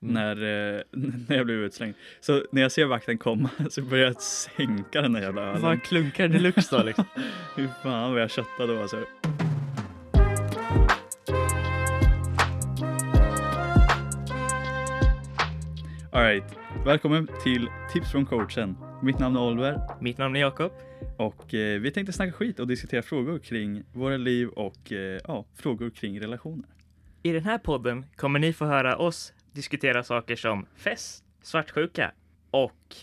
när, eh, när jag blev utslängd. Så när jag ser vakten komma så börjar jag sänka den där jävla ölen. Vad klunkar deluxe då liksom? Fy fan vad jag köttade då alltså. Alright, välkommen till Tips från coachen. Mitt namn är Oliver Mitt namn är Jakob. och eh, vi tänkte snacka skit och diskutera frågor kring våra liv och eh, ja, frågor kring relationer. I den här podden kommer ni få höra oss diskutera saker som fest, svartsjuka och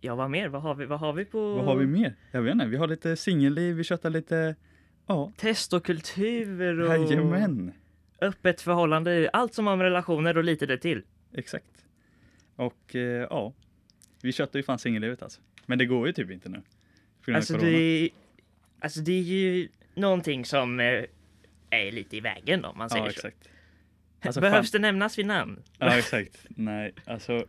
ja, vad mer? Vad har vi, vad har vi på? Vad har vi mer? Jag vet inte, vi har lite singelliv, vi köttar lite, ja, Test och kultur och jajamän, öppet förhållande, allt som har med relationer och lite det till. exakt. Och eh, ja, vi köttar ju fan singellivet alltså. Men det går ju typ inte nu. på grund av Alltså corona. det, är, alltså det är ju någonting som eh, är lite i vägen om man säger Ja, så. exakt. Alltså, Behövs fan. det nämnas vid namn? Ja, exakt. Nej, alltså,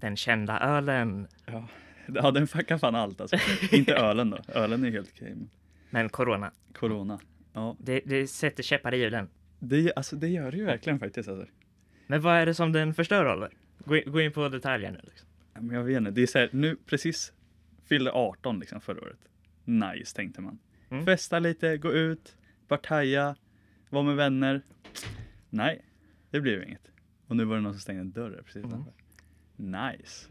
Den kända ölen. ja. ja, den fuckar fan allt alltså. Inte ölen då, ölen är helt okej. men Men corona, Corona, ja. det, det sätter käppar i hjulen. Det, alltså, det gör det ju verkligen faktiskt alltså. Men vad är det som den förstör Oliver? Gå in, gå in på detaljer nu. Liksom. Ja, Men jag vet inte, det är så här, nu precis fyllde 18 liksom förra året. Nice tänkte man. Mm. Festa lite, gå ut, partaja, vara med vänner. Nej, det blev inget. Och nu var det någon som stängde dörren precis Mm. utanför. Nice.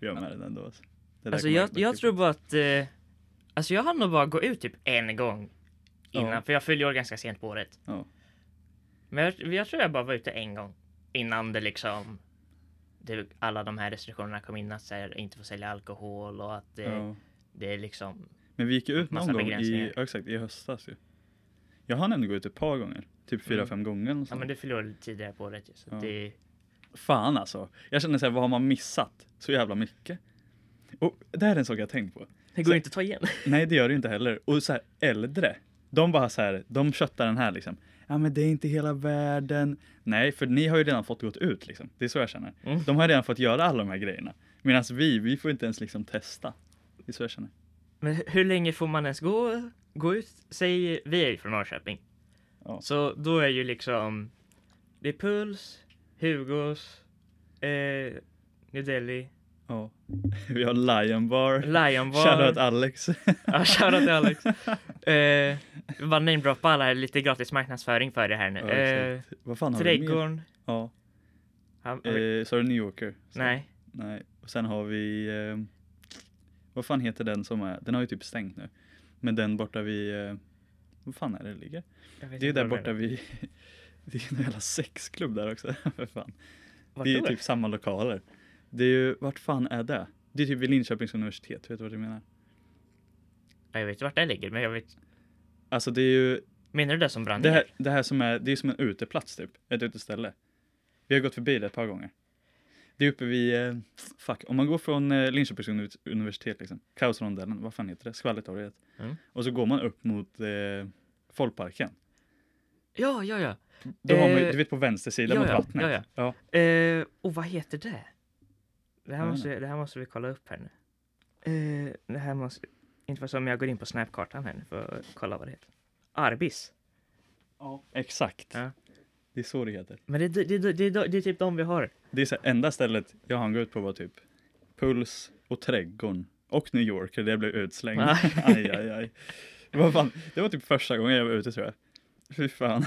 Vi har med den ändå. Alltså, det där Alltså kommer jag, jag bli- tror bara att... Eh, alltså jag hann nog bara gå ut typ en gång innan, Ja. för jag fyller år ganska sent på året. Ja. Men jag, jag tror jag bara var ute en gång innan det liksom... Det, alla de här restriktionerna kom in att så här, inte få sälja alkohol och att det, Ja. det är liksom... Men vi gick ju ut Massa någon gång i, begränsningar. ja, exakt, i höstas ju. Jag har nämligen gått ut ett par gånger. Typ fyra, Mm. fem gånger. Och Ja men du fyller år tidigare på året ju, så Ja. det... Fan alltså. Jag känner så här, vad har man missat? Så jävla mycket. Och det här är en sak jag har tänkt på. Det går går ju inte att ta igen. Nej, det gör det ju inte heller. Och så här, äldre, de bara så här, de köttar den här liksom. Ja, men det är inte hela världen. Nej, för ni har ju redan fått gått ut liksom. Det är så jag känner. Mm. De har redan fått göra alla de här grejerna. Medan vi, vi får inte ens liksom testa. Det är så jag känner. Men hu- hur länge får man ens gå, gå ut? Säg, vi är ju från Norrköping. Ja. Så då är ju liksom, det är Puls, Hugos, eh, New Delhi, Ja. Vi har Lion Bar. Lion Shoutout Bar. Eh, Alex. Ja, shoutout till Alex. Eh, jag bara namedroppa alla här, lite gratis marknadsföring för det här nu. Ja, Eh, exakt. Vad fan har vi mer? trädgården. Ja. Han, han, Eh, så har du New Yorker. Så. nej, Nej. Och sen har vi, eh, vad fan heter den som är, den har ju typ stängt nu. Men den borta vid, eh, vad fan är det det ligger? jag vet Det är ju inte där vad du borta menar. vid... Det är en jävla sexklubb där också. För fan. Vart Det är ju då? typ samma lokaler. Det är ju, vart fan är det? Det är typ vid Linköpings universitet, vet du vad jag menar? Ja, Jag vet inte vart det ligger, men jag vet. Alltså det är ju, Menar du det som brann det här, ner? det här som är, det är som en uteplats typ. Ett uteställe. Vi har gått förbi det ett par gånger. Det är uppe vid, eh, fuck, om man går från eh, Linköpings univ- universitet liksom, Kaosrondellen, vad fan heter det? Skvallertorget. Mm. Och så går man upp mot eh, Folkparken. Ja, ja, ja. Då har man ju, Eh, du vet på vänster sida ja, mot ja, vattnet. ja, ja. ja. Eh, och vad heter det? Det här, Jag vet måste, det här måste vi kolla upp här nu. Eh, det här måste... Inte för som jag går in på snapkartan här nu för att kolla vad det heter. Arbis. Ja, exakt. Ja. Det är så det heter. Men det, det, det, det, det, det är typ de vi har. Det är så här, enda stället jag hann gå ut på var typ Puls och Trädgården och New Yorker. Det blev utslängd. Ah. aj, aj, aj. Det var, fan, det var typ första gången jag var ute tror jag. Fy fan.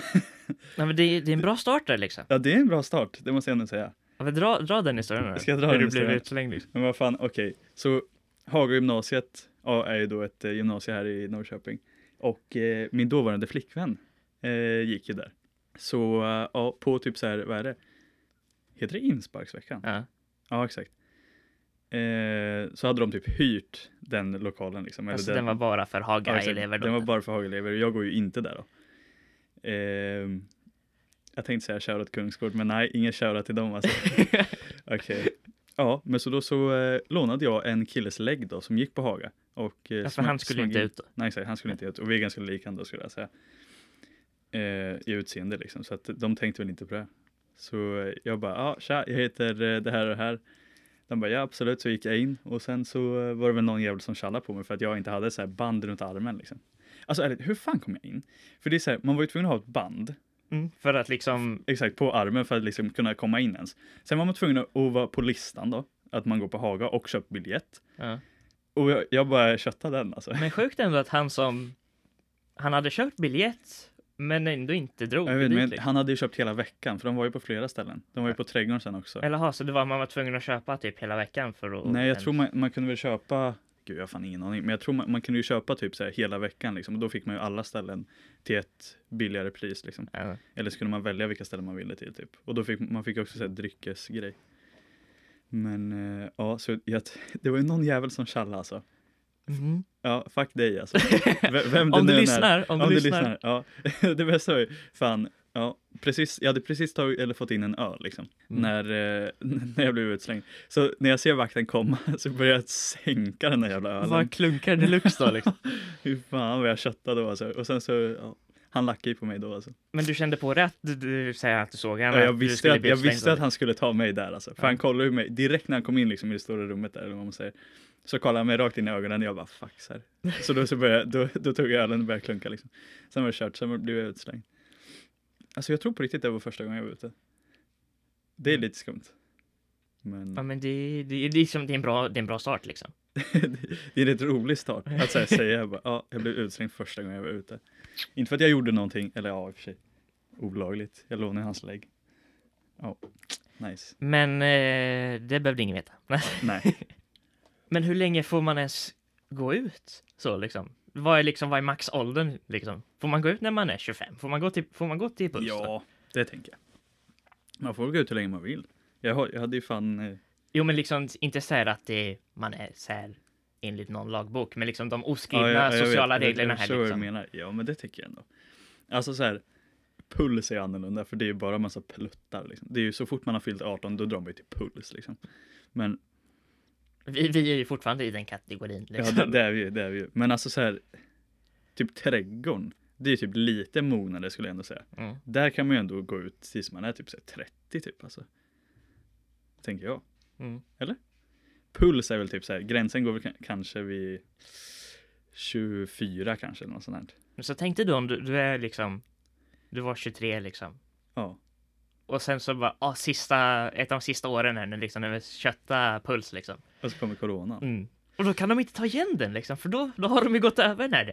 Nej, men det, det är en bra start där liksom. Ja, det är en bra start. Det måste jag ändå säga. Ja, men dra, dra den historien nu. Ska jag dra Hur den du blev historien? utslängd liksom. Men vad fan, okej. Så Hagagymnasiet ja, är ju då ett eh, gymnasium här i Norrköping. Och eh, min dåvarande flickvän eh, gick ju där. Så eh, ja, på typ så här, vad är det? Heter det insparksveckan? Ja. Ja, exakt. Eh, så hade de typ hyrt den lokalen. Liksom, Alltså den var bara för ja, exakt. Haga-elever då. Den var bara för Hagelever. Jag går ju inte där då. Eh, jag tänkte säga shoutout Kungsgård, men nej, ingen shoutout till dem alltså. Okej. Ja, men så då så eh, lånade jag en killes lägg då som gick på Haga. Och, eh, Ja, för smög- Alltså, han skulle smög inte in- ut då. Nej, exakt, han skulle inte ut. Och vi är ganska lika ändå skulle jag säga. Eh, I utseende liksom, så att de tänkte väl inte på det. Så eh, jag bara, ja tja, jag heter eh, det här och det här. De bara, ja absolut, så gick jag in och sen så eh, var det väl någon jävel som tjallade på mig för att jag inte hade så här band runt armen liksom. Alltså ärligt, hur fan kom jag in? För det är så här, man var ju tvungen att ha ett band Mm, för att liksom, Exakt, på armen för att liksom kunna komma in ens. Sen var man tvungen att att vara på listan då, att man går på Haga och köper biljett. ja. Och jag, jag bara köttade den alltså. Men sjukt ändå att han som, han hade köpt biljett men ändå inte drog Jag vet, dit, men liksom. han hade ju köpt hela veckan, för de var ju på flera ställen. De var ju på trädgården sen också. Eller ha, så det var man var tvungen att köpa typ hela veckan för att... Nej, jag tror man, man kunde väl köpa, gud jag har fan ingen aning, men jag tror man, man kunde ju köpa typ så här hela veckan liksom. Och då fick man ju alla ställen till ett billigare pris liksom. Ja. Eller så kunde man välja vilka ställen man ville till typ. Och då fick man fick också så här dryckesgrej. Men eh, ja, så jag, det var ju någon jävel som tjallade alltså. Mhm. Ja, fuck dig alltså. V- vem det Om nu du än är. lyssnar, om du lyssnar. Ja, det bästa var ju, fan, ja, precis, jag hade precis tagit, eller fått in en öl liksom, Mm. när, eh, när jag blev utslängd. Så när jag ser vakten komma så börjar jag sänka den där jävla ölen. Vad klunkar deluxe då liksom? Fy fan vad jag köttade då alltså. Och sen så, ja, han lackade ju på mig då alltså. Men du kände på det att du, du säger att du såg Ja, henne? jag att du visste, skulle att, bli jag utslängd visste av att han skulle ta mig där alltså. För Ja. han kollade ju mig, direkt när han kom in liksom, i det stora rummet där, eller vad man säger, så kollade han mig rakt in i ögonen och jag bara fuck så här. Så då, så började, jag- då, då tog jag ölen och började klunka liksom. Sen var det kört, sen blev jag utslängd. Alltså jag tror på riktigt det var första gången jag var ute. Det är lite skumt. Men Mm. Ja men det, det, det, är liksom, det, är en bra, det är en bra start liksom. det är en rätt rolig start att så här, säga jag bara, ja, jag blev utslängd första gången jag var ute. Inte för att jag gjorde någonting, eller ja i och för sig, olagligt. Jag lånade hans lägg. Ja, nice. Men eh, det behövde ingen veta. Nej. men hur länge får man ens gå ut? Så liksom. Vad är liksom, vad är maxåldern liksom? Får man gå ut när man är 25? Får man gå till, får man gå till buss? Då? Ja, det tänker jag. Man får gå ut hur länge man vill. Jag, har, jag hade ju fan... eh, Jo men liksom inte så här att det, man är så här enligt någon lagbok, men liksom de oskrivna ja, jag- jag sociala vet, jag- reglerna jag här förstår vad liksom. du menar. Ja, men det tycker jag ändå. Alltså så här, puls är annorlunda för det är ju bara massa pluttar. Liksom. Det är ju så fort man har fyllt 18 då drar man ju till puls liksom. Men Vi, vi är ju fortfarande i den kategorin. ja, Liksom. det, det är vi ju, det är vi ju. Men alltså så här, typ trädgården. Det är ju typ lite mognare skulle jag ändå säga. Mm. Där kan man ju ändå gå ut tills man är typ så här 30 typ alltså. Tänker jag. Mm. puls är väl typ så här, gränsen går väl k- kanske vid 24 kanske eller något sånt här. Men Så tänkte du om du, du är liksom, du var 23 liksom. Ja, Och sen så bara, ah, sista, ett av de sista åren här nu liksom, när vi kötta puls liksom. och så kommer corona. Mm. Och då kan de inte ta igen den liksom, för då, då har de ju gått över den här,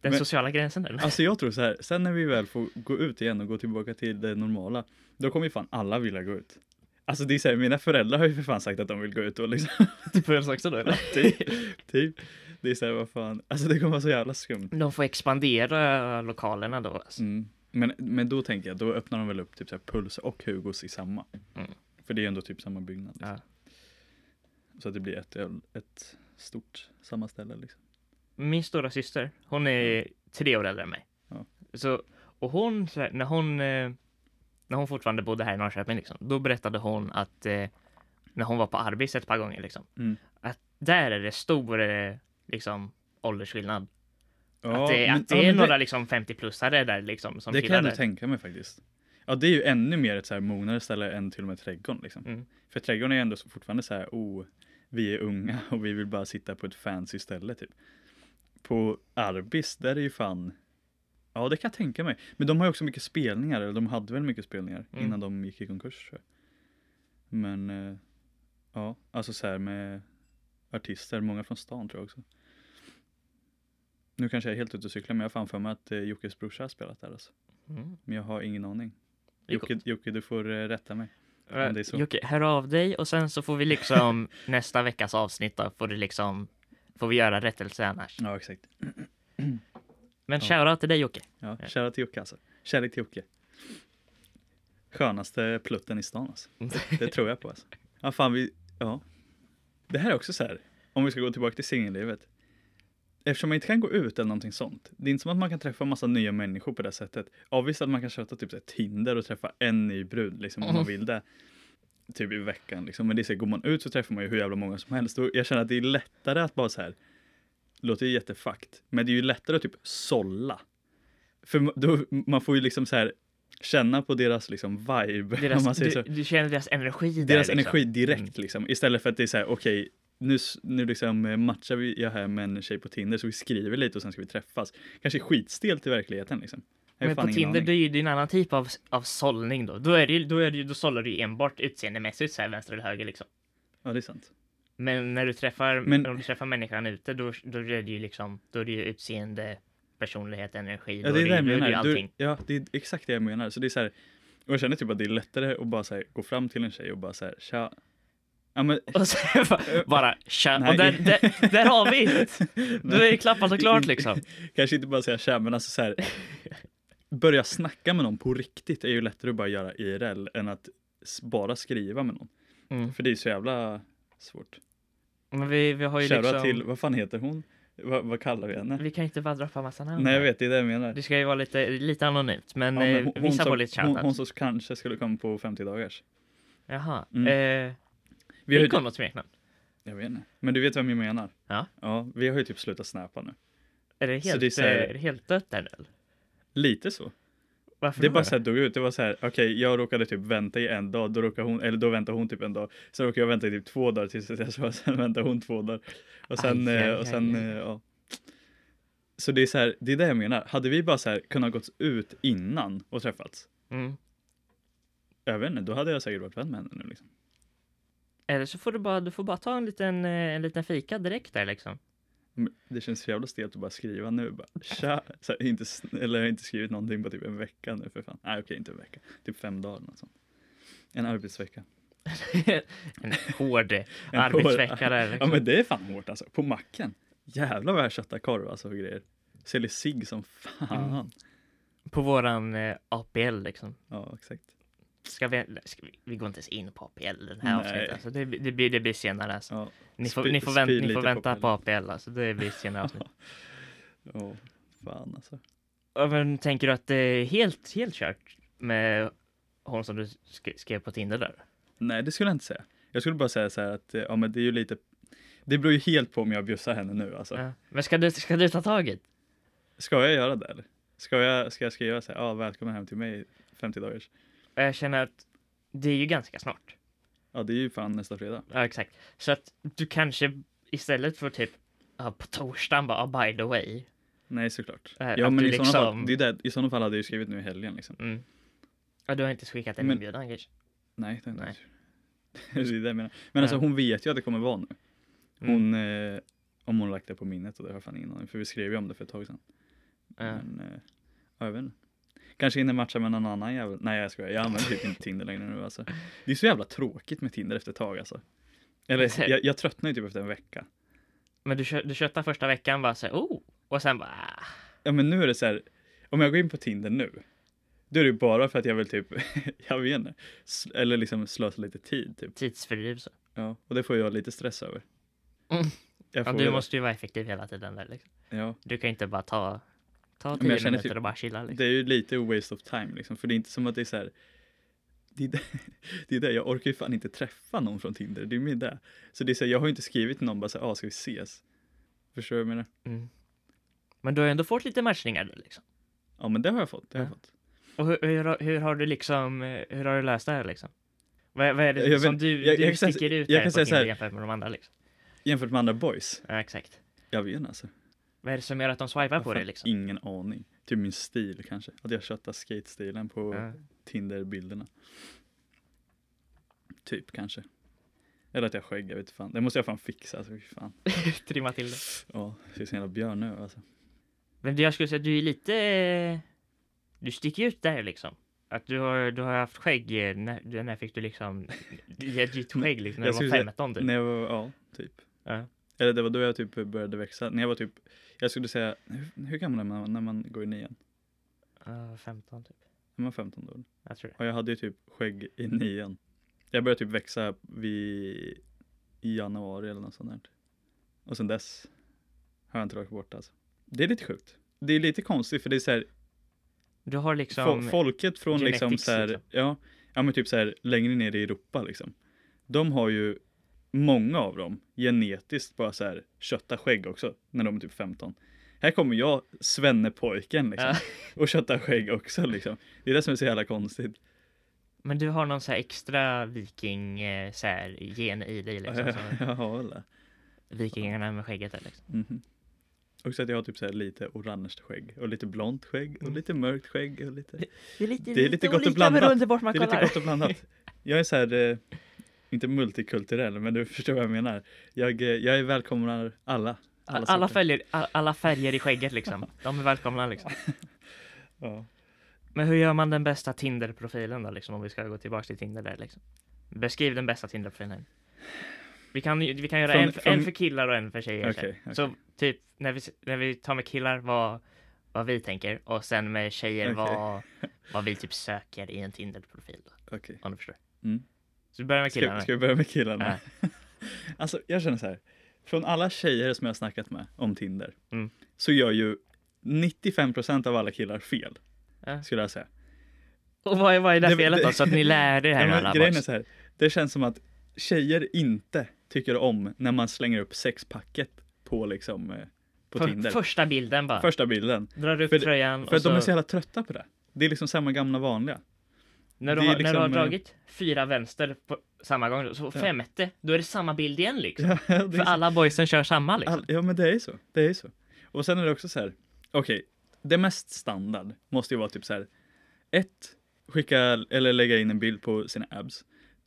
den Men- sociala gränsen där. Alltså jag tror så här, sen när vi väl får gå ut igen och gå tillbaka till det normala, då kommer ju fan alla vilja gå ut. Alltså det är så här, mina föräldrar har ju för fan sagt att de vill gå ut och liksom, till puls också då eller? typ, typ. Det är så här, vad fan, alltså det kommer vara så jävla skumt. De får expandera lokalerna då. Alltså. Mm. Men, men då tänker jag, då öppnar de väl upp typ så här Puls och Hugos i samma. Mm. För det är ju ändå typ samma byggnad. Liksom. Ja. Så att det blir ett, ett stort samma ställe liksom. Min stora syster, hon är tre år äldre än mig. Mm. Ja. Så, och hon, så här, när hon, eh, när hon fortfarande bodde här i Norrköping, liksom, då berättade hon att eh, när hon var på Arbis ett par gånger, liksom, Mm. att där är det stor eh, liksom, åldersskillnad. Ja, att det, men- att det ja, är men några liksom, 50-plussare där liksom, som Det kan jag chillar ändå där. tänka mig faktiskt. Ja, det är ju ännu mer ett så här mognare ställe än till och med trädgården. Liksom. Mm. För trädgården är ändå så, fortfarande så här, oh, vi är unga och vi vill bara sitta på ett fancy ställe typ. På Arbis, där är ju fan, ja det kan jag tänka mig. Men de har ju också mycket spelningar, eller de hade väl mycket spelningar Mm. innan de gick i konkurs. tror jag. Men eh, ja, alltså så här med artister, många från stan tror jag också. Nu kanske jag är helt ute och cyklar, men jag har fan för mig att eh, Jockes brorsa har spelat där alltså. Mm. Men jag har ingen aning. Det är Jocke, Jocke du får eh, rätta mig. Om det är så. Jocke, hör av dig och sen så får vi liksom nästa veckas avsnitt då, får, du liksom, får vi göra rättelse annars. Ja, exakt. Men Ja. shoutout till dig Jocke. Ja, kära till Jocke alltså. Kärlek till Jocke. Skönaste plutten i stan alltså. Det tror jag på alltså. Ja, fan vi, ja. Det här är också så här, om vi ska gå tillbaka till singellivet. Eftersom man inte kan gå ut eller någonting sånt. Det är inte som att man kan träffa massa nya människor på det här sättet. Ja, visst att man kan köta typ så här, Tinder och träffa en ny brud liksom om man Mm. vill det. Typ i veckan liksom. Men det är så här, går man ut så träffar man ju hur jävla många som helst. Och jag känner att det är lättare att bara så här. Låter ju jättefakt. Men det är ju lättare att typ sålla. För ma- då, man får ju liksom så här känna på deras liksom vibe. om man Deras, säger så. du, du känner deras energi där, Deras liksom. energi direkt liksom. Istället för att det är så här, okej, nu, s- nu liksom eh, matchar vi jag här med en tjej på Tinder så vi skriver lite och sen ska vi träffas. Kanske skitstelt i verkligheten liksom. Jag har Men på fan ingen Tinder, det aning. är ju det en annan typ av, av sållning då. Då, är det, ju- då, är det, ju- då sållar du ju enbart utseendemässigt så här vänster eller höger liksom. Ja, det är sant. Men när du träffar, Men- när du träffar människan ute, då, då är det ju liksom, då är det ju utseende, personlighet, energi, Ja, då det är det jag då ju menar. Du, allting. ja, det är exakt det jag menar. Så det är så här, och jag känner typ att det är lättare att bara så här, gå fram till en tjej och bara så här, tja. Ja, men, Och sen bara- bara tja, Nej. och där, där, där har vi det! Då är det klappat och klart liksom. Kanske inte bara säga tja, men alltså så här. Börja snacka med någon på riktigt är ju lättare att bara göra IRL än att s- bara skriva med någon. Mm. För det är så jävla svårt. Men vi, vi har ju Shoutout liksom, till, vad fan heter hon? Va, vad kallar vi henne? vi kan ju inte bara droppa massa namn. Nej jag här. vet, det är det jag menar. Det ska ju vara lite, lite anonymt, men, Ja, men eh, vissa som, var lite hon, hon shoutouts. som kanske skulle komma på 50 dagars. Jaha. Mm. Eh, Vi har ju, fick hon något smeknamn? jag vet inte. Men du vet vem jag menar? Ja. Ja, vi har ju typ slutat snäpa nu. Är det Så helt, det är så här- eh, är det helt dött där nu? eller? Lite så. Varför Det är då? bara så här dog ut. Det var så här, okej, jag råkade typ vänta i en dag, då råkade hon, eller då väntade hon typ en dag. Sen råkade jag vänta i typ två dagar tills jag sa, sen väntade hon två dagar. Och sen, Aj, eh, aj, och sen, aj, aj. eh, ja. Så det är så här, det är det jag menar. Hade vi bara så här kunnat gått ut innan och träffats, Mm. jag vet inte, då hade jag säkert varit vän med henne nu liksom. Eller så får du bara, du får bara ta en liten, eh, en liten fika direkt där liksom. Men Det känns så jävla stelt att bara skriva nu bara, tja, så här, inte, s- eller jag har inte skrivit någonting på typ en vecka nu för fan. Nej okej, inte en vecka, typ fem dagar eller något sånt. En arbetsvecka. en hård eh, En hård- arbetsvecka där Ja liksom. men det är fan hårt alltså. På macken. Jävlar vad jag köttar korv alltså och grejer. Säljer sig som fan. På våran eh, APL liksom. Ja exakt. Ska vi, ska vi, vi går inte ens in på APL den här Nej. avsnittet. Alltså, det, det, blir, det blir senare alltså. Ja. Ni får, Spy- ni får, vänt, spyr ni får lite vänta på APL alltså. Det blir senare avsnitt. Åh, fan alltså. Ja, men tänker du att det är helt, helt kört med hon som du sk- skrev på Tinder där? Nej det skulle jag inte säga. Jag skulle bara säga så här att eh, ja men det är ju lite det beror ju helt på om jag bjussar henne nu alltså. Ja. Men ska du, ska du ta tag i det? Ska jag göra det eller? Ska jag, ska jag skriva så här, ja välkommen hem till mig 50 dagars. Och Jag känner att det är ju ganska snart. Ja det är ju fan nästa fredag. Ja, exakt. Så att du kanske istället för typ ja, på torsdagen bara, ah, by the way. Nej såklart. Äh, ja att men du i sådana fall, liksom- det är det, i sådana fall hade jag ju skrivit nu i helgen liksom. Mm. Ja, du har inte skickat en Men- inbjudan kanske? Nej, det har jag Nej. inte gjort. det är det jag menar. Men alltså Ja. hon vet ju att det kommer vara nu. Mm. Hon, eh, om hon har lagt det på minnet och det har jag fan ingen aning för vi skrev ju om det för ett tag sedan. Ja. Men, eh, ja, jag vet inte. Kanske hinner matcha med någon annan jävel. Nej jag skojar, jag använder typ inte Tinder längre nu alltså. Det är så jävla tråkigt med Tinder efter ett tag alltså. Eller jag, jag tröttnar ju typ efter en vecka. Men du, kö- du köttar första veckan bara såhär, oh! Och sen bara, ah. Ja men nu är det så här, om jag går in på Tinder nu, då är det ju bara för att jag vill typ, jag vet inte, sl- eller liksom slösa lite tid typ. tidsfördriv så. Ja, och det får jag lite stress över. Mm. Jag Ja, får du det. måste ju vara effektiv hela tiden där liksom. Ja, Du kan inte bara ta, ta jag tio känner minuter typ- och bara chilla liksom. det är ju lite waste of time liksom, för det är inte som att det är så här. Det är det, det är det, jag orkar ju fan inte träffa någon från Tinder, det är ju det. Så det är så här, jag har ju inte skrivit till någon bara så här, ah, ska vi ses? Förstår du vad jag menar? Mm. Men du har ju ändå fått lite matchningar där, liksom. Ja, men det har jag fått, det har jag Ja. fått. Och hur, hur, har- hur har du liksom, eh, hur har du löst det här liksom? Vad, vad är det Jag vet- som du, jag- du jag kan säga- sticker ut jag där kan på säga så Tinder här- jämfört med de andra liksom? Jämfört med andra boys, Ja, exakt. jag vet inte alltså. Vad är det som gör att de swipar Jag på har dig fan liksom? Ingen aning. Typ min stil kanske, att jag köttar skate-stilen på Ja. Tinder-bilderna. Typ kanske. Eller att jag har skägg, jag vet inte fan. Det måste jag fan fixa, alltså fy fan. Trimma till det. Ja, ser ut som en jävla björn nu alltså. Men jag skulle säga att du är lite, eh, du sticker ut där liksom. Att du har, du har haft skägg, eh, när, du- när fick du liksom legit skägg liksom, när Jag du skulle var säga- 15 typ? När jag var, ja, typ. Ja. Eller det var då jag typ började växa. När jag var typ, jag skulle säga, hur, hur gammal är man när man går i nian? Ja, 15 typ. När man 15 då? Jag tror det. Och jag hade ju typ skägg i nian. Jag började typ växa vid, i januari eller något sånt där. Och sen dess har jag inte rört bort alltså. Det är lite sjukt. Det är lite konstigt för det är så här, Du har fo- liksom... folket från liksom genetics, så här, liksom. Ja, ja men typ så här längre ner i Europa liksom. De har ju, många av dem, genetiskt bara så här kötta skägg också när de är typ 15. Här kommer jag, svennepojken liksom, Ja. och kötta skägg också liksom. Det är det som är så jävla konstigt. Men du har någon så här extra viking eh, så här, gen i dig liksom. Ja, Så ja, eller? vikingarna med skägget där liksom. Mhm. Också att jag har typ så här lite orange skägg och lite blont skägg Mm. och lite mörkt skägg och lite... Det är lite, Det är lite gott och olika blandat. beroende på vart man Det är lite kollar. gott och blandat. Jag är så här, eh, inte multikulturell, men du förstår vad jag menar. Jag, eh, jag är välkomnar alla. alla, sorter. färger, all- alla färger i skägget liksom. De är välkomna liksom. Ja. Men hur gör man den bästa Tinder-profilen då liksom? Om vi ska gå tillbaka till Tinder där liksom. Beskriv den bästa Tinder-profilen. Vi kan, ju- vi kan göra Från- en, för- från- en för killar och en för tjejer. så här. Okej, okej. Så typ när vi, när vi tar med killar vad, vad vi tänker och sen med tjejer Okej. vad, vad vi typ söker i en Tinder-profil. Då, Okej. om du förstår. Mm. Så vi börjar med Ska, killarna. ska vi börja med killarna? alltså, jag känner så här. Från alla tjejer som jag har snackat med om Tinder Mm. så gör ju 95 av alla killar fel, Ja. skulle jag säga. Och vad är, vad är det, Det- felet då? det- Så att ni lär er det här Ja, nu men alla grejen är boys. så här, det känns som att tjejer inte tycker om när man slänger upp sexpacket på liksom eh, på För- Tinder. Första bilden bara. Första bilden. Drar upp för- tröjan För och att så, de är så jävla trötta på det. Det är liksom samma gamla vanliga. när, du det har, är när du har liksom, eh, dragit fyra vänster på samma gång, så femte, då är det samma bild igen liksom. Ja, det är För så- alla boysen kör samma liksom. all, ja men det är ju så. Det är ju så. Och sen är det också så här, okej, det mest standard måste ju vara typ så här, ett, skicka eller lägga in en bild på sina abs.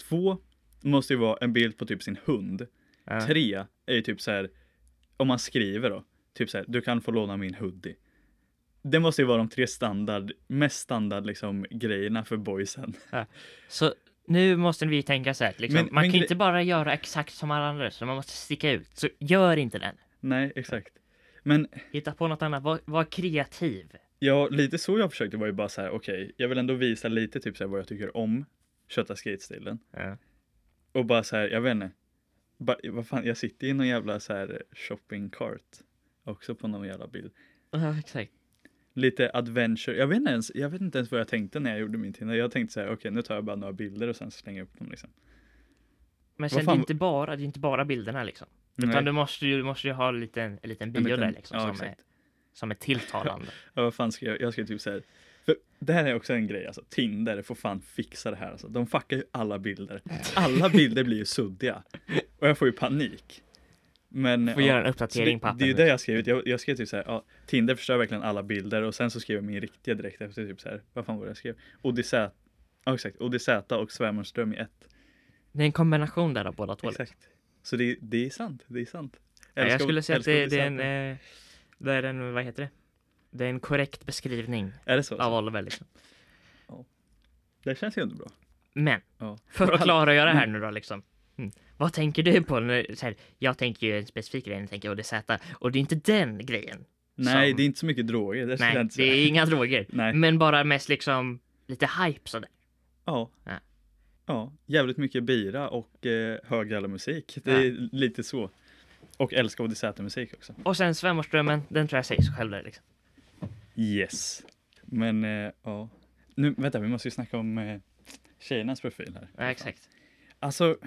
Två, måste ju vara en bild på typ sin hund. Ja. Tre är ju typ så här, om man skriver då, typ så här, du kan få låna min hoodie. Det måste ju vara de tre standard, mest standard liksom grejerna för boysen. Så nu måste vi tänka så här, liksom, Men- man men kan gre- inte bara göra exakt som alla andra, så man måste sticka ut. Så gör inte den. Nej, exakt. Men Hitta på något annat, var, var kreativ. ja, lite så jag försökte var ju bara så här, okej, jag vill ändå visa lite typ så här vad jag tycker om kötta skate-stilen. Ja. Och bara så här, jag vet inte. Ba, vad fan, jag sitter i någon jävla så här shopping cart också på någon jävla bild. exakt. lite adventure. Jag vet, inte ens, jag vet inte ens vad jag tänkte när jag gjorde min Tinder. Jag tänkte så här, okej nu tar jag bara några bilder och sen slänger jag upp dem liksom. Men Vad sen det är fan- inte bara, det är inte bara bilderna liksom. Utan du måste ju, du måste ju ha en liten, en liten bio En liten- där liksom, ja, som, är, exakt. som är tilltalande. Ja, vad fan ska jag, jag ska typ säga. För det här är också en grej alltså, Tinder får fan fixa det här alltså. De fuckar ju alla bilder. Alla bilder blir ju suddiga. Och jag får ju panik. Men, Får ja. göra en Så uppdatering på det, appen. det är ju liksom. det jag skrivit. Jag, jag skrev typ så här, ja, Tinder förstör verkligen alla bilder och sen så skrev jag min riktiga direkt efter typ så här, vad fan var det jag skrev? Odyssäta, ja exakt, Odyssäta och Svärmonström i ett. Det är en kombination där av båda två. liksom. Exakt. Så det, det är sant, det är sant. Ja, jag Älskar- skulle säga att älskar det, att det är en, sant. eh, det är en, vad heter det? Det är en korrekt beskrivning Är det så? av Oliver liksom. Det känns ju ändå bra. Men, Ja. för att klara att göra det här nu då liksom. Mm. Vad tänker du på? När, så här, jag tänker ju en specifik grej, jag tänker jag, och det är Z. Och det är inte den grejen. Nej, Som- det är inte så mycket droger. Det skulle jag Nej, inte det säga. är inga droger. Nej. Men bara mest liksom lite hype sådär. Ja. Ja. ja. Jävligt mycket bira och eh, höggallermusik. Det är lite så. Och älskar Odyssey-musik också. Och sen Svärmorsdrömmen, den tror jag säger sig själv där liksom. Yes. Men eh, ja. Nu, vänta, vi måste ju snacka om eh, tjejernas profil här. Ja, exakt. Alltså,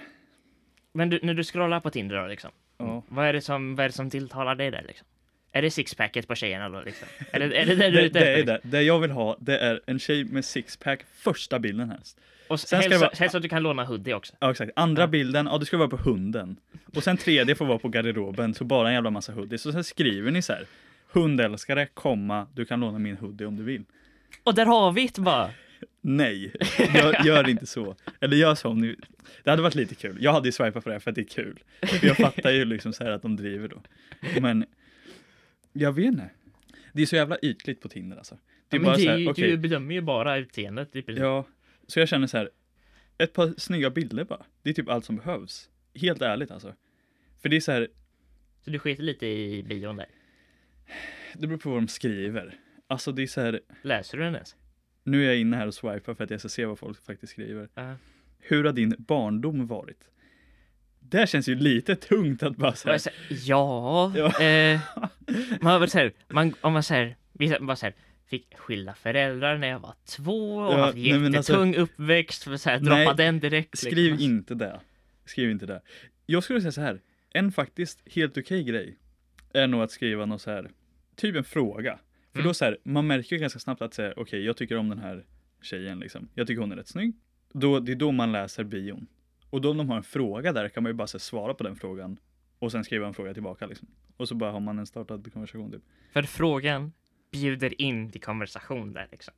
Men du, när du scrollar på Tinder då liksom. ja. Vad är det som, vad är det som tilltalar dig där liksom? Är det sixpacket på tjejerna då liksom? Är det, är det det du Det, är ute det efter? är liksom? det. Det jag vill ha, det är en tjej med sixpack första bilden helst. Och Sen s- ska helst, det vara- helst att du kan låna hoodie också. Ja exakt, andra bilden, ja det ska vara på hunden. Och sen tredje får vara på garderoben, så bara en jävla massa hoodies. Och sen skriver ni så här, hundälskare, komma, du kan låna min hoodie om du vill. Och där har vi ett bara! Nej, gör, gör inte så. Eller gör så om ni... Det hade varit lite kul. Jag hade ju swipat på det här för att det är kul. För jag fattar ju liksom så här att de driver då. Men jag vet inte. Det är så jävla ytligt på Tinder alltså. Det är men bara det så är här, ju, okej, Du bedömer ju bara utseendet i princip. Ja, så jag känner så här. Ett par snygga bilder bara. Det är typ allt som behövs. Helt ärligt alltså. För det är så här, Så du skiter lite i bion där. det beror på vad de skriver. Alltså det är så här, Läser du den ens? nu är jag inne här och swipar för att jag ska se vad folk faktiskt skriver. Hur har din barndom varit? Det känns ju lite tungt att bara Bara säga. så här, ja, Ja. Eh, man har varit så här, man, om man säger, vissa bara så här, fick skilda föräldrar när jag var två och Ja, haft nej, men jättetung alltså- uppväxt, för så här, droppa Nej, den direkt. Skriv liksom. inte det. Skriv inte det. Jag skulle säga så här, en faktiskt helt okej grej är nog att skriva något så här, typ en fråga. För Mm. då så här, man märker ju ganska snabbt att säga, okej, jag tycker om den här tjejen liksom. Jag tycker hon är rätt snygg. Då, det är då man läser bion. Och då om de har en fråga där kan man ju bara så här, svara på den frågan och sen skriva en fråga tillbaka liksom. Och så bara har man en startad konversation typ. För frågan bjuder in till konversation där liksom.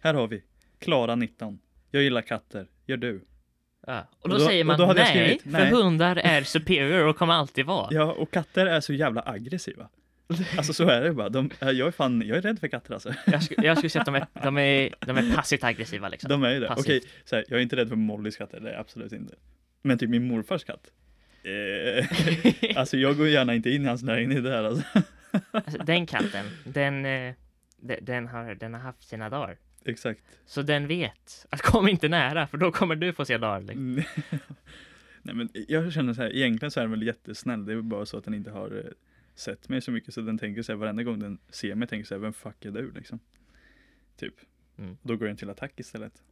Här har vi Klara 19. Jag gillar katter. Gör du? Ja. Och, Och då då- säger och man då hade jag nej, skrivit, för nej." hundar är superior och kommer alltid vara. Ja, och katter är så jävla aggressiva. Alltså så är det bara. De, jag är fan, jag är rädd för katter alltså. Jag, sk- jag skulle säga att de är, de är, de är passivt aggressiva liksom. De är ju det. Passivt. Okej, så här, jag är inte rädd för Mollys katter, det är jag absolut inte. Men typ min morfars katt. Eh, alltså jag går gärna inte in i hans lägenhet där alltså. Alltså, den katten, den, eh, de- den, har, den har haft sina dagar. Exakt. Så den vet att kom inte nära, för då kommer du få se dagar. Liksom. Mm. Nej men jag känner så här, egentligen så är den väl jättesnäll. Det är bara så att den inte har eh, sett mig så mycket så den tänker så här varenda gång den ser mig tänker så här, vem fuck är du liksom? Typ. Mm. Då går den till attack istället.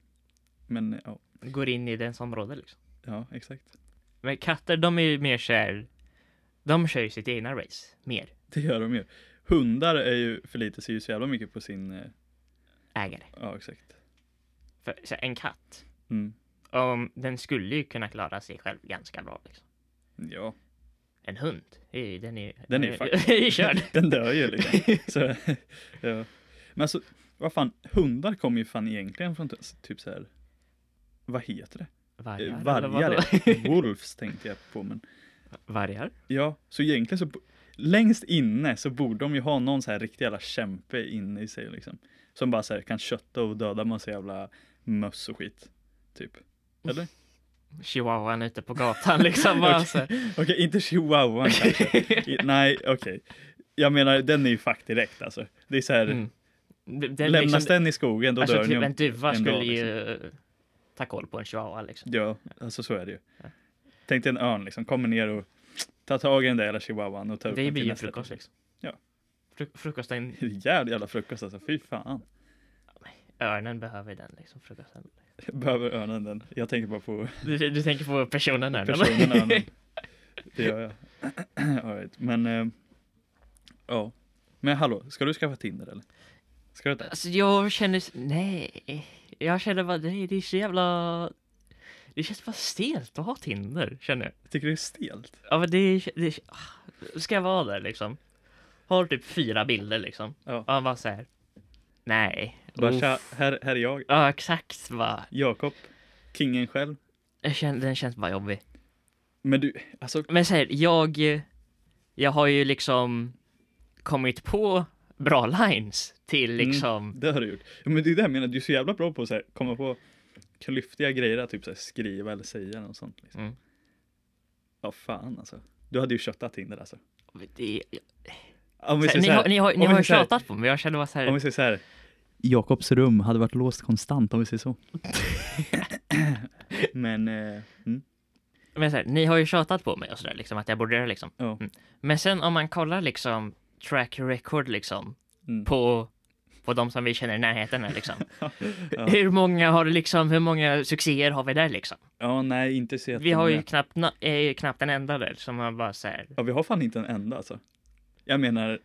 Men eh, ja, Går in i dens område liksom. ja exakt. Men katter, de är ju mer såhär, de kör ju sitt egna race, mer. Det gör de ju. Hundar är ju, förlitar sig ju så jävla mycket på sin, eh, Ägare. ja exakt. För så här, en katt, Mm. om, den skulle ju kunna klara sig själv ganska bra liksom. Ja, En hund, det är ju- den är ju... Den är ju ju körd. Den dör ju liksom. Så, ja. Men alltså, vad fan, hundar kommer ju fan egentligen från t- typ så här. Vad heter det? Eh, Vargar? eller Vargar. vadå? ja. Wolves tänkte jag på, men Vargar? ja, så egentligen så bo- längst inne så borde de ju ha någon så här riktig jävla kämpe inne i sig liksom. Som bara så här kan kötta och döda massa jävla möss och skit. Typ. Eller? Chihuahuan ute på gatan liksom. bara Okej. så här. Okej, inte chihuahuan kanske. I- Nej, okej. Jag menar, den är ju fuck direkt alltså. Det är så här, Mm. Den- den lämnas liksom- den i skogen då Alltså dör den typ ju. en duva en skulle dag, liksom? ju eh, ta koll på en chihuahua liksom. Ja, alltså så är det ju. Tänk dig en örn liksom, kommer ner och tar tag i den där jävla chihuahuan och tar upp Det den blir till ju nästa. frukost liksom. Ja. Fru- frukosten, Jävla jävla frukost alltså, fy fan. örnen behöver den liksom, frukosten. Behöver örnen den? Jag tänker bara på Du, du tänker på personen örnen? personen örnen. Det gör jag. All right. men eh, ja. Men hallå, ska du skaffa Tinder eller? Ska du det? Alltså jag känner, s- nej. Jag känner bara, nej det är så jävla... Det känns bara stelt att ha Tinder, känner jag. Jag tycker det är stelt. Ja men det, det ah, ska jag vara där liksom. Har typ fyra bilder liksom. Ja. Och han bara såhär. Nej. Bara, Uff. tja, här, här är jag, Ja exakt va. Jakob, kingen själv. Jag känner, den känns bara jobbig. Men du, alltså, Men såhär, jag. Jag har ju liksom kommit på bra lines till Mm. liksom. Det har du gjort. Ja, Men det är det jag menar, du är så jävla bra på att så här, komma på klyftiga grejer, att typ så här, skriva eller säga något sånt. Liksom. Mm. Ja, fan alltså. Du hade ju köttat Tinder alltså. Det, Om vi säger såhär, ni, så har, här, ni har, om ni vi har ju säger så tjatat på mig, jag känner bara här, om såhär. vi säger så här. Jakobs rum hade varit låst konstant om vi säger så. Men, eh, mm, Men såhär, ni har ju tjatat på mig och sådär liksom att jag borde göra liksom. ja. Men sen om man kollar liksom track record liksom. Mm. På, på de som vi känner i närheten här liksom. ja. Hur många har det liksom, hur många succéer har vi där liksom? ja, nej, inte så Vi har ju jättemånga. knappt, na- eh, knappt en enda där som har bara så här, Ja, vi har fan inte en enda alltså. Jag menar,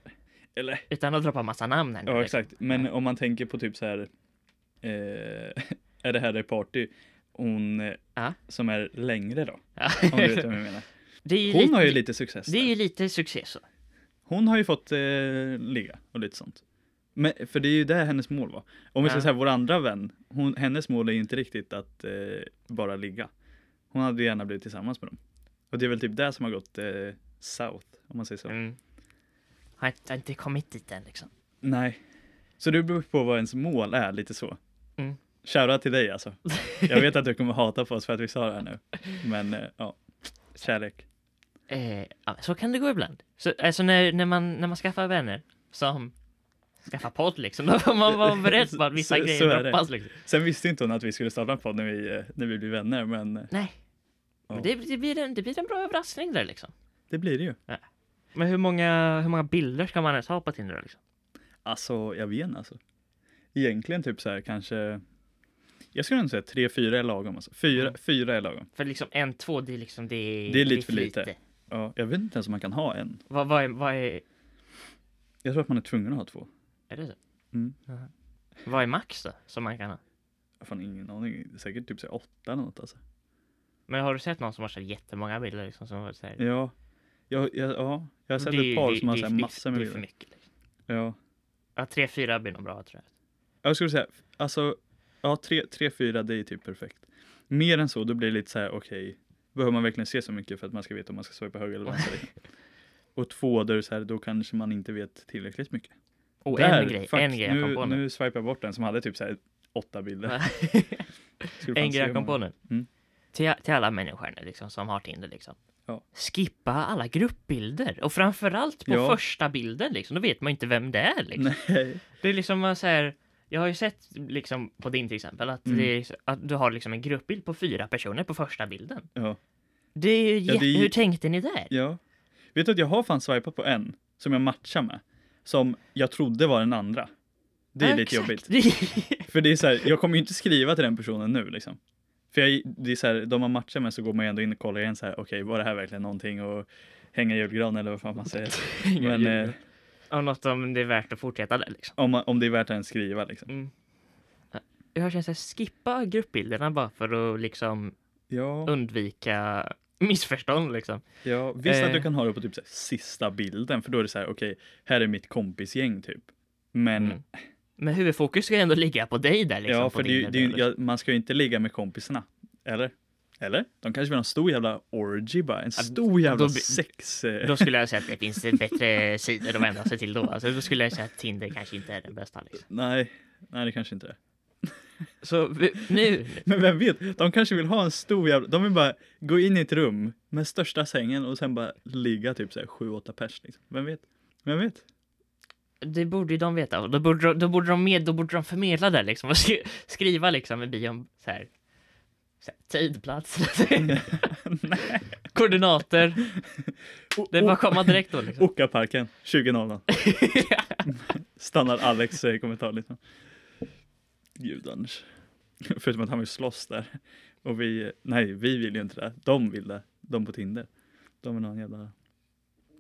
eller utan att droppa massa namn här nu, Ja liksom. exakt, men om man tänker på typ så här eh, Är det här är party? Hon eh, Ja. som är längre då? Ja. Om du vet vad jag menar. Det är ju Hon lite, har ju lite success. det är där. ju lite succé så. Hon har ju fått eh, ligga och lite sånt. Men, för det är ju det hennes mål var. Om vi Ja. ska säga vår andra vän, hon, hennes mål är ju inte riktigt att eh, bara ligga. Hon hade ju gärna blivit tillsammans med dem. Och det är väl typ det som har gått eh, south, om man säger så. Mm. Har inte, har inte kommit dit än liksom. Nej. Så det beror på vad ens mål är, lite så. Mm. Shoutout till dig alltså. Jag vet att du kommer hata på oss för att vi sa det här nu. Men eh, ja, kärlek. Eh, ja, så kan det gå ibland. Så, alltså när, när, man, när man skaffar vänner som skaffar podd liksom, då får man vara beredd på att vissa Så- så grejer är det. droppas liksom. Sen visste inte hon att vi skulle starta en podd när vi, eh, när vi blev vänner, men eh, Nej. Ja. Men det, det, blir en, det blir en bra överraskning där liksom. det blir det ju. Men hur många, hur många bilder ska man ens ha på Tinder liksom? Alltså, jag vet inte alltså. Egentligen typ så här kanske, jag skulle nog säga tre, fyra är lagom alltså. Fyra, Mm. fyra är lagom. För liksom en, två, det är liksom det är, Det är lite för lite. Ja, jag vet inte ens om man kan ha en. Vad, vad, är, vad är, Jag tror att man är tvungen att ha två. är det så? Mm. Jaha. Vad är max då, som man kan ha? Jag har fan ingen aning, säkert typ så här åtta eller något alltså. Men har du sett någon som har så här jättemånga bilder liksom som har så här, Ja, jag, jag, ja, Jag har sett Det- ett par det- som har det är så här för- massor med Det är för bilder. mycket. Liksom. Ja. Ja, tre, fyra blir nog bra tror jag. Jag skulle säga, alltså, ja, 3-4 det är typ perfekt. Mer än så, då blir det lite så här, okej, behöver man verkligen se så mycket för att man ska veta om man ska swipa höger eller vänster? liksom? och två, där det är så här, då kanske man inte vet tillräckligt mycket. Och Där, en grej, fuck, en grej jag nu, kom på nu. nu swipar jag bort den som hade typ så här åtta bilder. Skulle fan en se grej jag kom hur på många- nu. Mm. Till, till alla människor liksom, som har Tinder liksom. Ja. Skippa alla gruppbilder och framförallt på Ja. första bilden liksom. Då vet man ju inte vem det är liksom. Nej. Det är liksom man säger, jag har ju sett liksom på din till exempel att, Mm. det är, så- att du har liksom en gruppbild på fyra personer på första bilden. Ja. Det är ju Ja, jätte- det är- hur tänkte ni där? ja. Vet du att jag har fan swipat på en som jag matchar med, som jag trodde var den andra. Det är Ja, lite exakt. jobbigt. Det är- För det är så här, jag kommer ju inte skriva till den personen nu liksom. För jag, det är så här, de man matchar med så går man ju ändå in och kollar igen så här, okej var det här verkligen någonting och hänga julgran eller vad fan man säger. Men eh, Och något om det är värt att fortsätta där liksom. om, man, om det är värt att ens skriva liksom. Jag känner såhär, skippa gruppbilderna bara för att liksom Ja, undvika missförstånd liksom. ja visst att du Eh. kan ha det på typ så här, sista bilden för då är det så här, okej här är mitt kompisgäng typ. Men Mm, Men huvudfokus ska ju ändå ligga på dig där liksom. ja, på för det, är ju- din det, är ju- bild. ja, man ska ju inte ligga med kompisarna. Eller? Eller? De kanske vill ha en stor jävla orgy bara. En stor jävla då blir- sex... eh, Då skulle jag säga att det finns bättre sidor att vända sig till då. Alltså, då skulle jag säga att Tinder kanske inte är den bästa. Liksom. Nej, nej det kanske inte är. Så vi- nu, Men vem vet, de kanske vill ha en stor jävla, de vill bara gå in i ett rum med största sängen och sen bara ligga typ såhär 7-8 pers liksom. Vem vet? Vem vet? det borde ju de veta. Och Då borde, de- då borde, de, med, då borde de förmedla det liksom och skri, skriva liksom i bion så här, så här tid, plats, koordinater. Det är bara att komma direkt då liksom. Okaparken, 20.00. Standard Alex eh, kommentar liksom. Gudarns. Förutom att han vill slåss där. Och vi, nej vi vill ju inte det. De vill det. De på Tinder. De vill ha en jävla,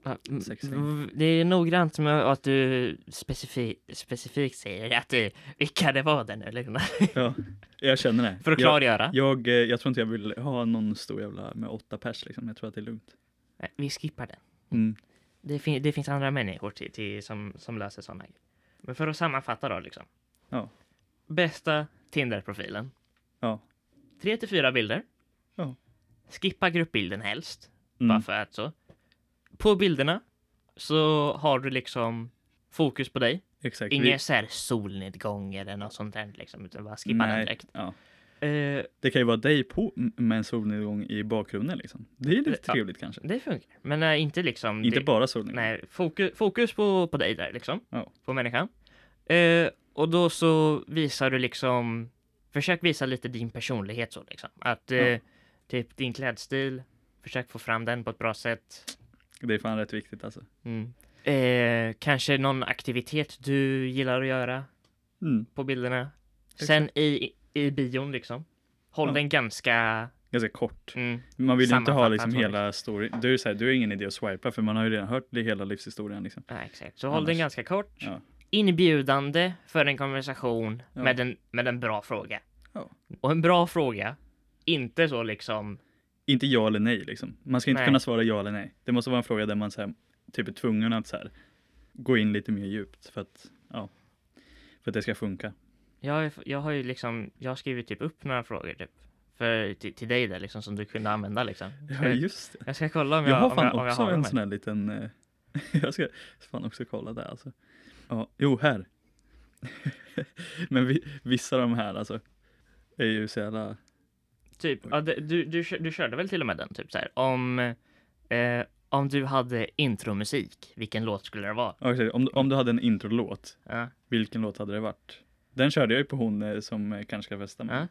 Ja, m- Sexting. v- Det är noggrant med att du specifi, specifikt säger att du, vilka det var där nu liksom. ja, jag känner det. För att jag, klargöra. jag, eh, jag tror inte jag vill ha någon stor jävla med åtta pers liksom. Jag tror att det är lugnt. Nej, Vi skippar den. Mm. Det, fin- det finns andra människor till, till, som, som löser sådana grejer. Men för att sammanfatta då liksom. Ja. Bästa Tinder-profilen. Ja. Tre till fyra bilder. Ja. Skippa gruppbilden helst. Mm. Bara för att så. På bilderna så har du liksom fokus på dig. Exakt. Ingen så här solnedgång eller något sånt där liksom. Utan bara skippa den Nej, direkt. Ja. Eh, Det kan ju vara dig på m- med en solnedgång i bakgrunden liksom. Det är lite Ja. trevligt kanske. det funkar. Men nej, inte liksom. Inte det- bara solnedgång. Nej, fokus, fokus på, på dig där liksom. Ja. På människan. Eh, och då så visar du liksom, försök visa lite din personlighet så liksom. Att eh, Ja. typ din klädstil, försök få fram den på ett bra sätt. Mm. Det är fan rätt viktigt alltså. Eh, kanske någon aktivitet du gillar att göra Mm. på bilderna. Sen i, i bion liksom. Håll Ja. den ganska... Ganska kort. Mm, Man vill ju inte ha Sammanfattat liksom så, hela storyn. Du är så här, du har ingen idé att swipa för man har ju redan hört det hela livshistorien liksom. ja, exakt. Så håll den Annars- ganska kort. Ja. Inbjudande för en konversation Ja. med, en, med en bra fråga. Ja. Och en bra fråga, inte så liksom... Inte ja eller nej liksom. Man ska inte Nej. kunna svara ja eller nej. Det måste vara en fråga där man så här, typ är tvungen att så här, gå in lite mer djupt för att, ja, för att det ska funka. Jag, är- jag har ju liksom, jag har skrivit typ upp några frågor typ. För, till, till dig där liksom, som du kunde använda liksom. Ja, just det. Jag ska kolla om jag, Jag har om fan jag, om jag också har en dem här. sån här liten... eh, jag ska fan också kolla där alltså. Ja, jo, här. Men vi, vissa av de här alltså är ju så jävla... Typ, ja, det, du, du, kö- du körde väl till och med den typ så här. Om, eh, om du hade intromusik, vilken låt skulle det vara? Ja, exakt. Om, om du hade en introlåt, Ja. vilken låt hade det varit? Den körde jag ju på hon eh, som eh, kanske ska festa med. Ja.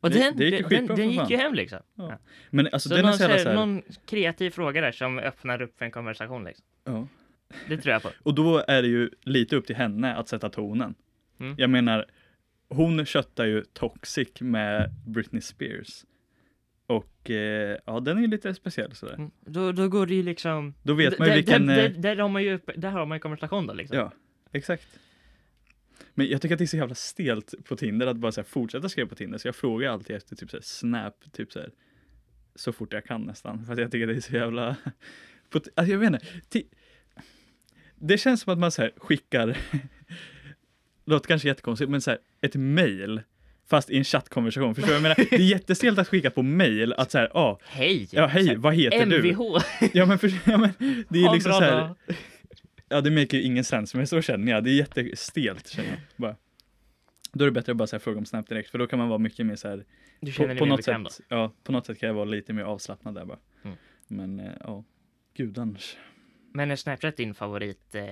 Och Det- den, det gick ju den, den, skitbra för gick fan. ju hem liksom. Ja. Ja. Men alltså Så, den är någon, så så jävla här, så här, någon kreativ fråga där som öppnar upp för en konversation liksom. ja. Det tror jag på. Och då är det ju lite upp till henne att sätta tonen. Mm. Jag menar, hon köttar ju Toxic med Britney Spears. Och eh, ja, den är ju lite speciell sådär. Mm. Då, då går det ju liksom... Då vet D- man ju där- vilken... Där, eh, där, där har man ju, upp- där har man ju konversation då liksom. Ja, exakt. Men jag tycker att det är så jävla stelt på Tinder att bara så här fortsätta skriva på Tinder. Så jag frågar alltid efter typ så här snap, typ så här, så fort jag kan nästan. För att jag tycker det är så jävla på, alltså jag vet inte. Ti- det känns som att man så här skickar, låter kanske jättekonstigt, men så här, ett mejl fast i en chattkonversation. Förstår du? Jag menar, det är jättestelt att skicka på mejl att så här, ah, Hej! ja hej, vad heter du? MVH! Ja men, för, ja, men det är ju Ha en liksom bra så här, dag. ja det make ju ingen sens, men så känner jag. Det är jättestelt känner jag. Bara. Då är det bättre att bara så här, fråga om Snap direkt, för då kan man vara mycket mer så här, Du känner på, dig på, mer något bekväm då? sätt, ja, på något sätt kan jag vara lite mer avslappnad där bara. Mm. Men eh, ja, gudans. Men är Snapchat din favorit? Eh,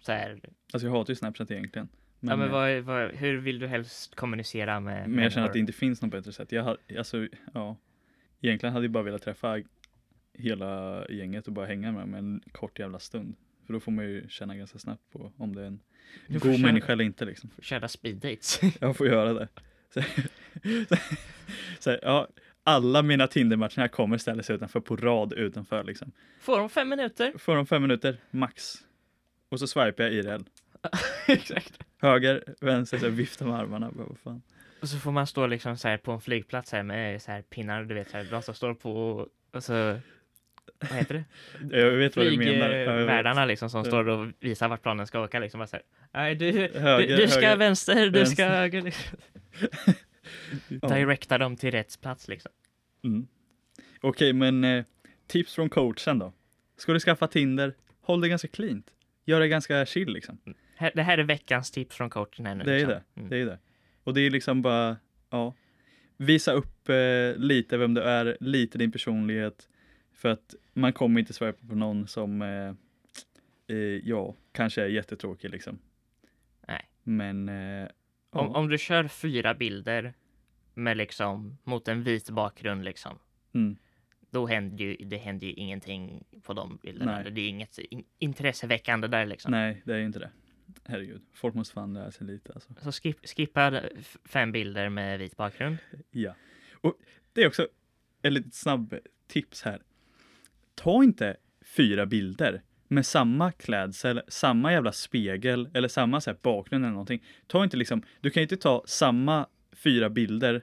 så här, Alltså jag hatar ju Snapchat egentligen. Men, ja, men eh, vad, vad, hur vill du helst kommunicera med men jag känner att det människor? inte finns något bättre sätt. Jag har, alltså, ja, egentligen hade jag bara velat träffa hela gänget och bara hänga med dem en kort jävla stund. För då får man ju känna ganska snabbt på om det är en Du får god köra- människa eller inte. Liksom. Köra speed dates. Jag får göra det. Så, så, så, ja, alla mina Tinder-matcher här kommer ställa sig utanför på rad utanför. Liksom. Får de fem minuter? Får de fem minuter, max. Och så swipar jag IRL. Exakt. Höger, vänster, så här, viftar med armarna. Bara, vad fan. Och så får man stå liksom så här på en flygplats här med så här pinnar, du vet, så här, de som står på och, och så... Vad heter det? Jag vet vad du menar. Ja, jag vet. Flygvärdarna liksom som Ja. står och visar vart planen ska åka liksom. Bara så här, Nej, du, Höger, du, du ska höger, vänster, du ska vänster." höger. Liksom. Ja. Directa dem till rätt plats liksom. Mm. Okej, men eh, tips från coachen då? Ska du skaffa Tinder, håll det ganska cleant. Gör det ganska chill liksom. Här- Det här är veckans tips från coachen här nu. Det är liksom. det. Mm. Det är det. Och det är liksom bara, ja. Visa upp eh, lite vem du är, lite din personlighet. För att man kommer inte swipa på någon som, eh, eh, ja, kanske är jättetråkig liksom. Nej. Men, eh, ja. Om, om du kör fyra bilder med liksom mot en vit bakgrund liksom. Mm. Då händer ju, det händer ju ingenting på de bilderna. Nej. Det är inget in, intresseväckande där liksom. Nej, det är ju inte det. Herregud, folk måste fan lära sig lite alltså. Så skip, skippa f- fem bilder med vit bakgrund. Ja. Och det är också ett litet snabb tips här. Ta inte fyra bilder med samma klädsel, samma jävla spegel eller samma så här bakgrund eller någonting. Ta inte liksom, du kan ju inte ta samma fyra bilder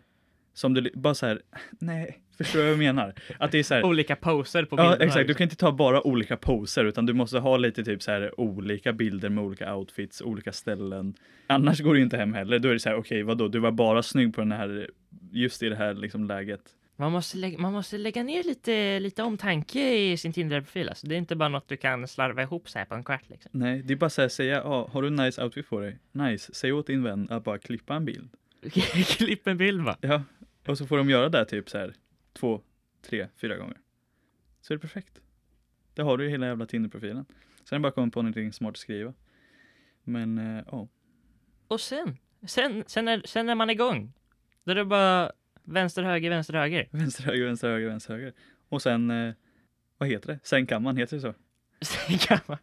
som du li- bara så här, nej, förstår du vad jag menar? Att det är så här, Olika poser på Eh. ja bilderna. exakt, du liksom. kan inte ta bara olika poser utan du måste ha lite typ så här olika bilder med olika outfits, olika ställen. Annars går det ju inte hem heller, då är det så här, okej vadå, du var bara snygg på den här, just i det här liksom läget. man, måste lägga, man måste lägga ner lite, lite omtanke i sin Tinder-profil. Alltså. Det är inte bara något du kan slarva ihop så här på en kvart. Liksom. Nej, det är bara så här, säga, ja, har du en nice outfit på dig? Nice, säg åt din vän att bara klippa en bild. Klipp en bild va? Ja, och så får de göra det här typ så här två, tre, fyra gånger. Så är det perfekt. Det har du ju hela jävla Tinder-profilen. Sen är det bara att komma på någonting smart att skriva. Men eh, ja, Och sen, sen, sen, är, sen är man igång. Då är det bara vänster, höger, vänster, höger. vänster, höger, vänster, höger, vänster, höger. Och sen, eh, vad heter det? Sen kan man, heter det så? Sen kan man.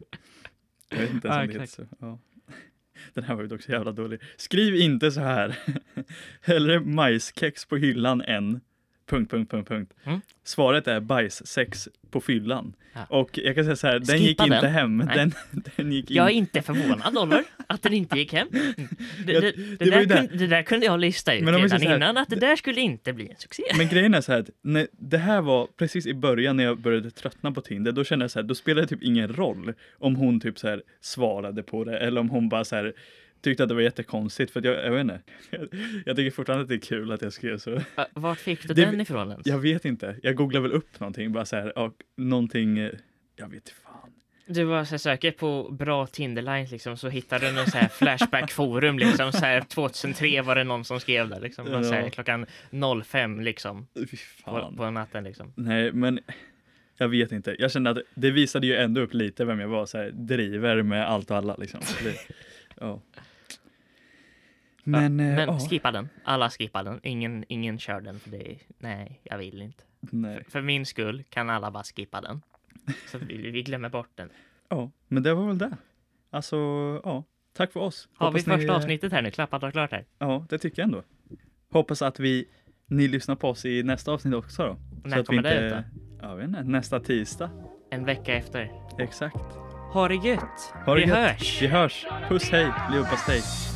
Jag vet inte ens Ja, om det heter så. Ja. Den här var ju också jävla dålig. Skriv inte så här. Hellre majskex på hyllan än... Punkt, punkt, punkt, punkt. Mm. Svaret är bajssex på fyllan. Ja. Och jag kan säga så här, den gick Skippa inte den. hem. Nej. Den, den gick in. Jag är inte förvånad Oliver, att den inte gick hem. Mm. Det, det, det, det var ju där, det. kunde, det där kunde jag lista ut Men om vi redan säger så här, innan, att det där skulle inte bli en succé. Men grejen är så här, att när, det här var precis i början när jag började tröttna på Tinder. Då kände jag så här, då spelade det typ ingen roll om hon typ så här svarade på det eller om hon bara så här tyckte att det var jättekonstigt. För att jag, jag vet inte. Jag, jag tycker fortfarande att det är kul att jag skrev så. Va- Vart fick du Det- den ifrån ens? Jag vet inte. Jag googlar väl upp någonting, bara så här, ja, någonting, eh, jag vet fan. Du bara så här, söker på bra Tinderlines liksom, så hittar du någon så här Flashback-forum liksom, så här 2003 var det någon som skrev där liksom, ja. så här, Ja. klockan 05 liksom, Fy på, fan. på natten liksom. Nej, men jag vet inte. Jag kände att det visade ju ändå upp lite vem jag var, så här, driver med allt och alla liksom. Så Det, ja. Men, eh, Men ja, skippa den, alla skippar den, ingen, ingen kör den för det, nej, jag vill inte. nej. För min skull kan alla bara skippa den. Så att vi, vi glömmer bort den. Ja, men det var väl det. Alltså, ja, tack för oss. Har vi Hoppas ni- eh, första avsnittet här nu, klappat och klart här. Ja, det tycker jag ändå. Hoppas att vi, ni lyssnar på oss i nästa avsnitt också då. När kommer det ut då? Jag vet inte, nästa tisdag. En vecka efter. Exakt. Ha det gött! Ha det vi gött. hörs! Vi hörs. Puss, hej, leverpastej.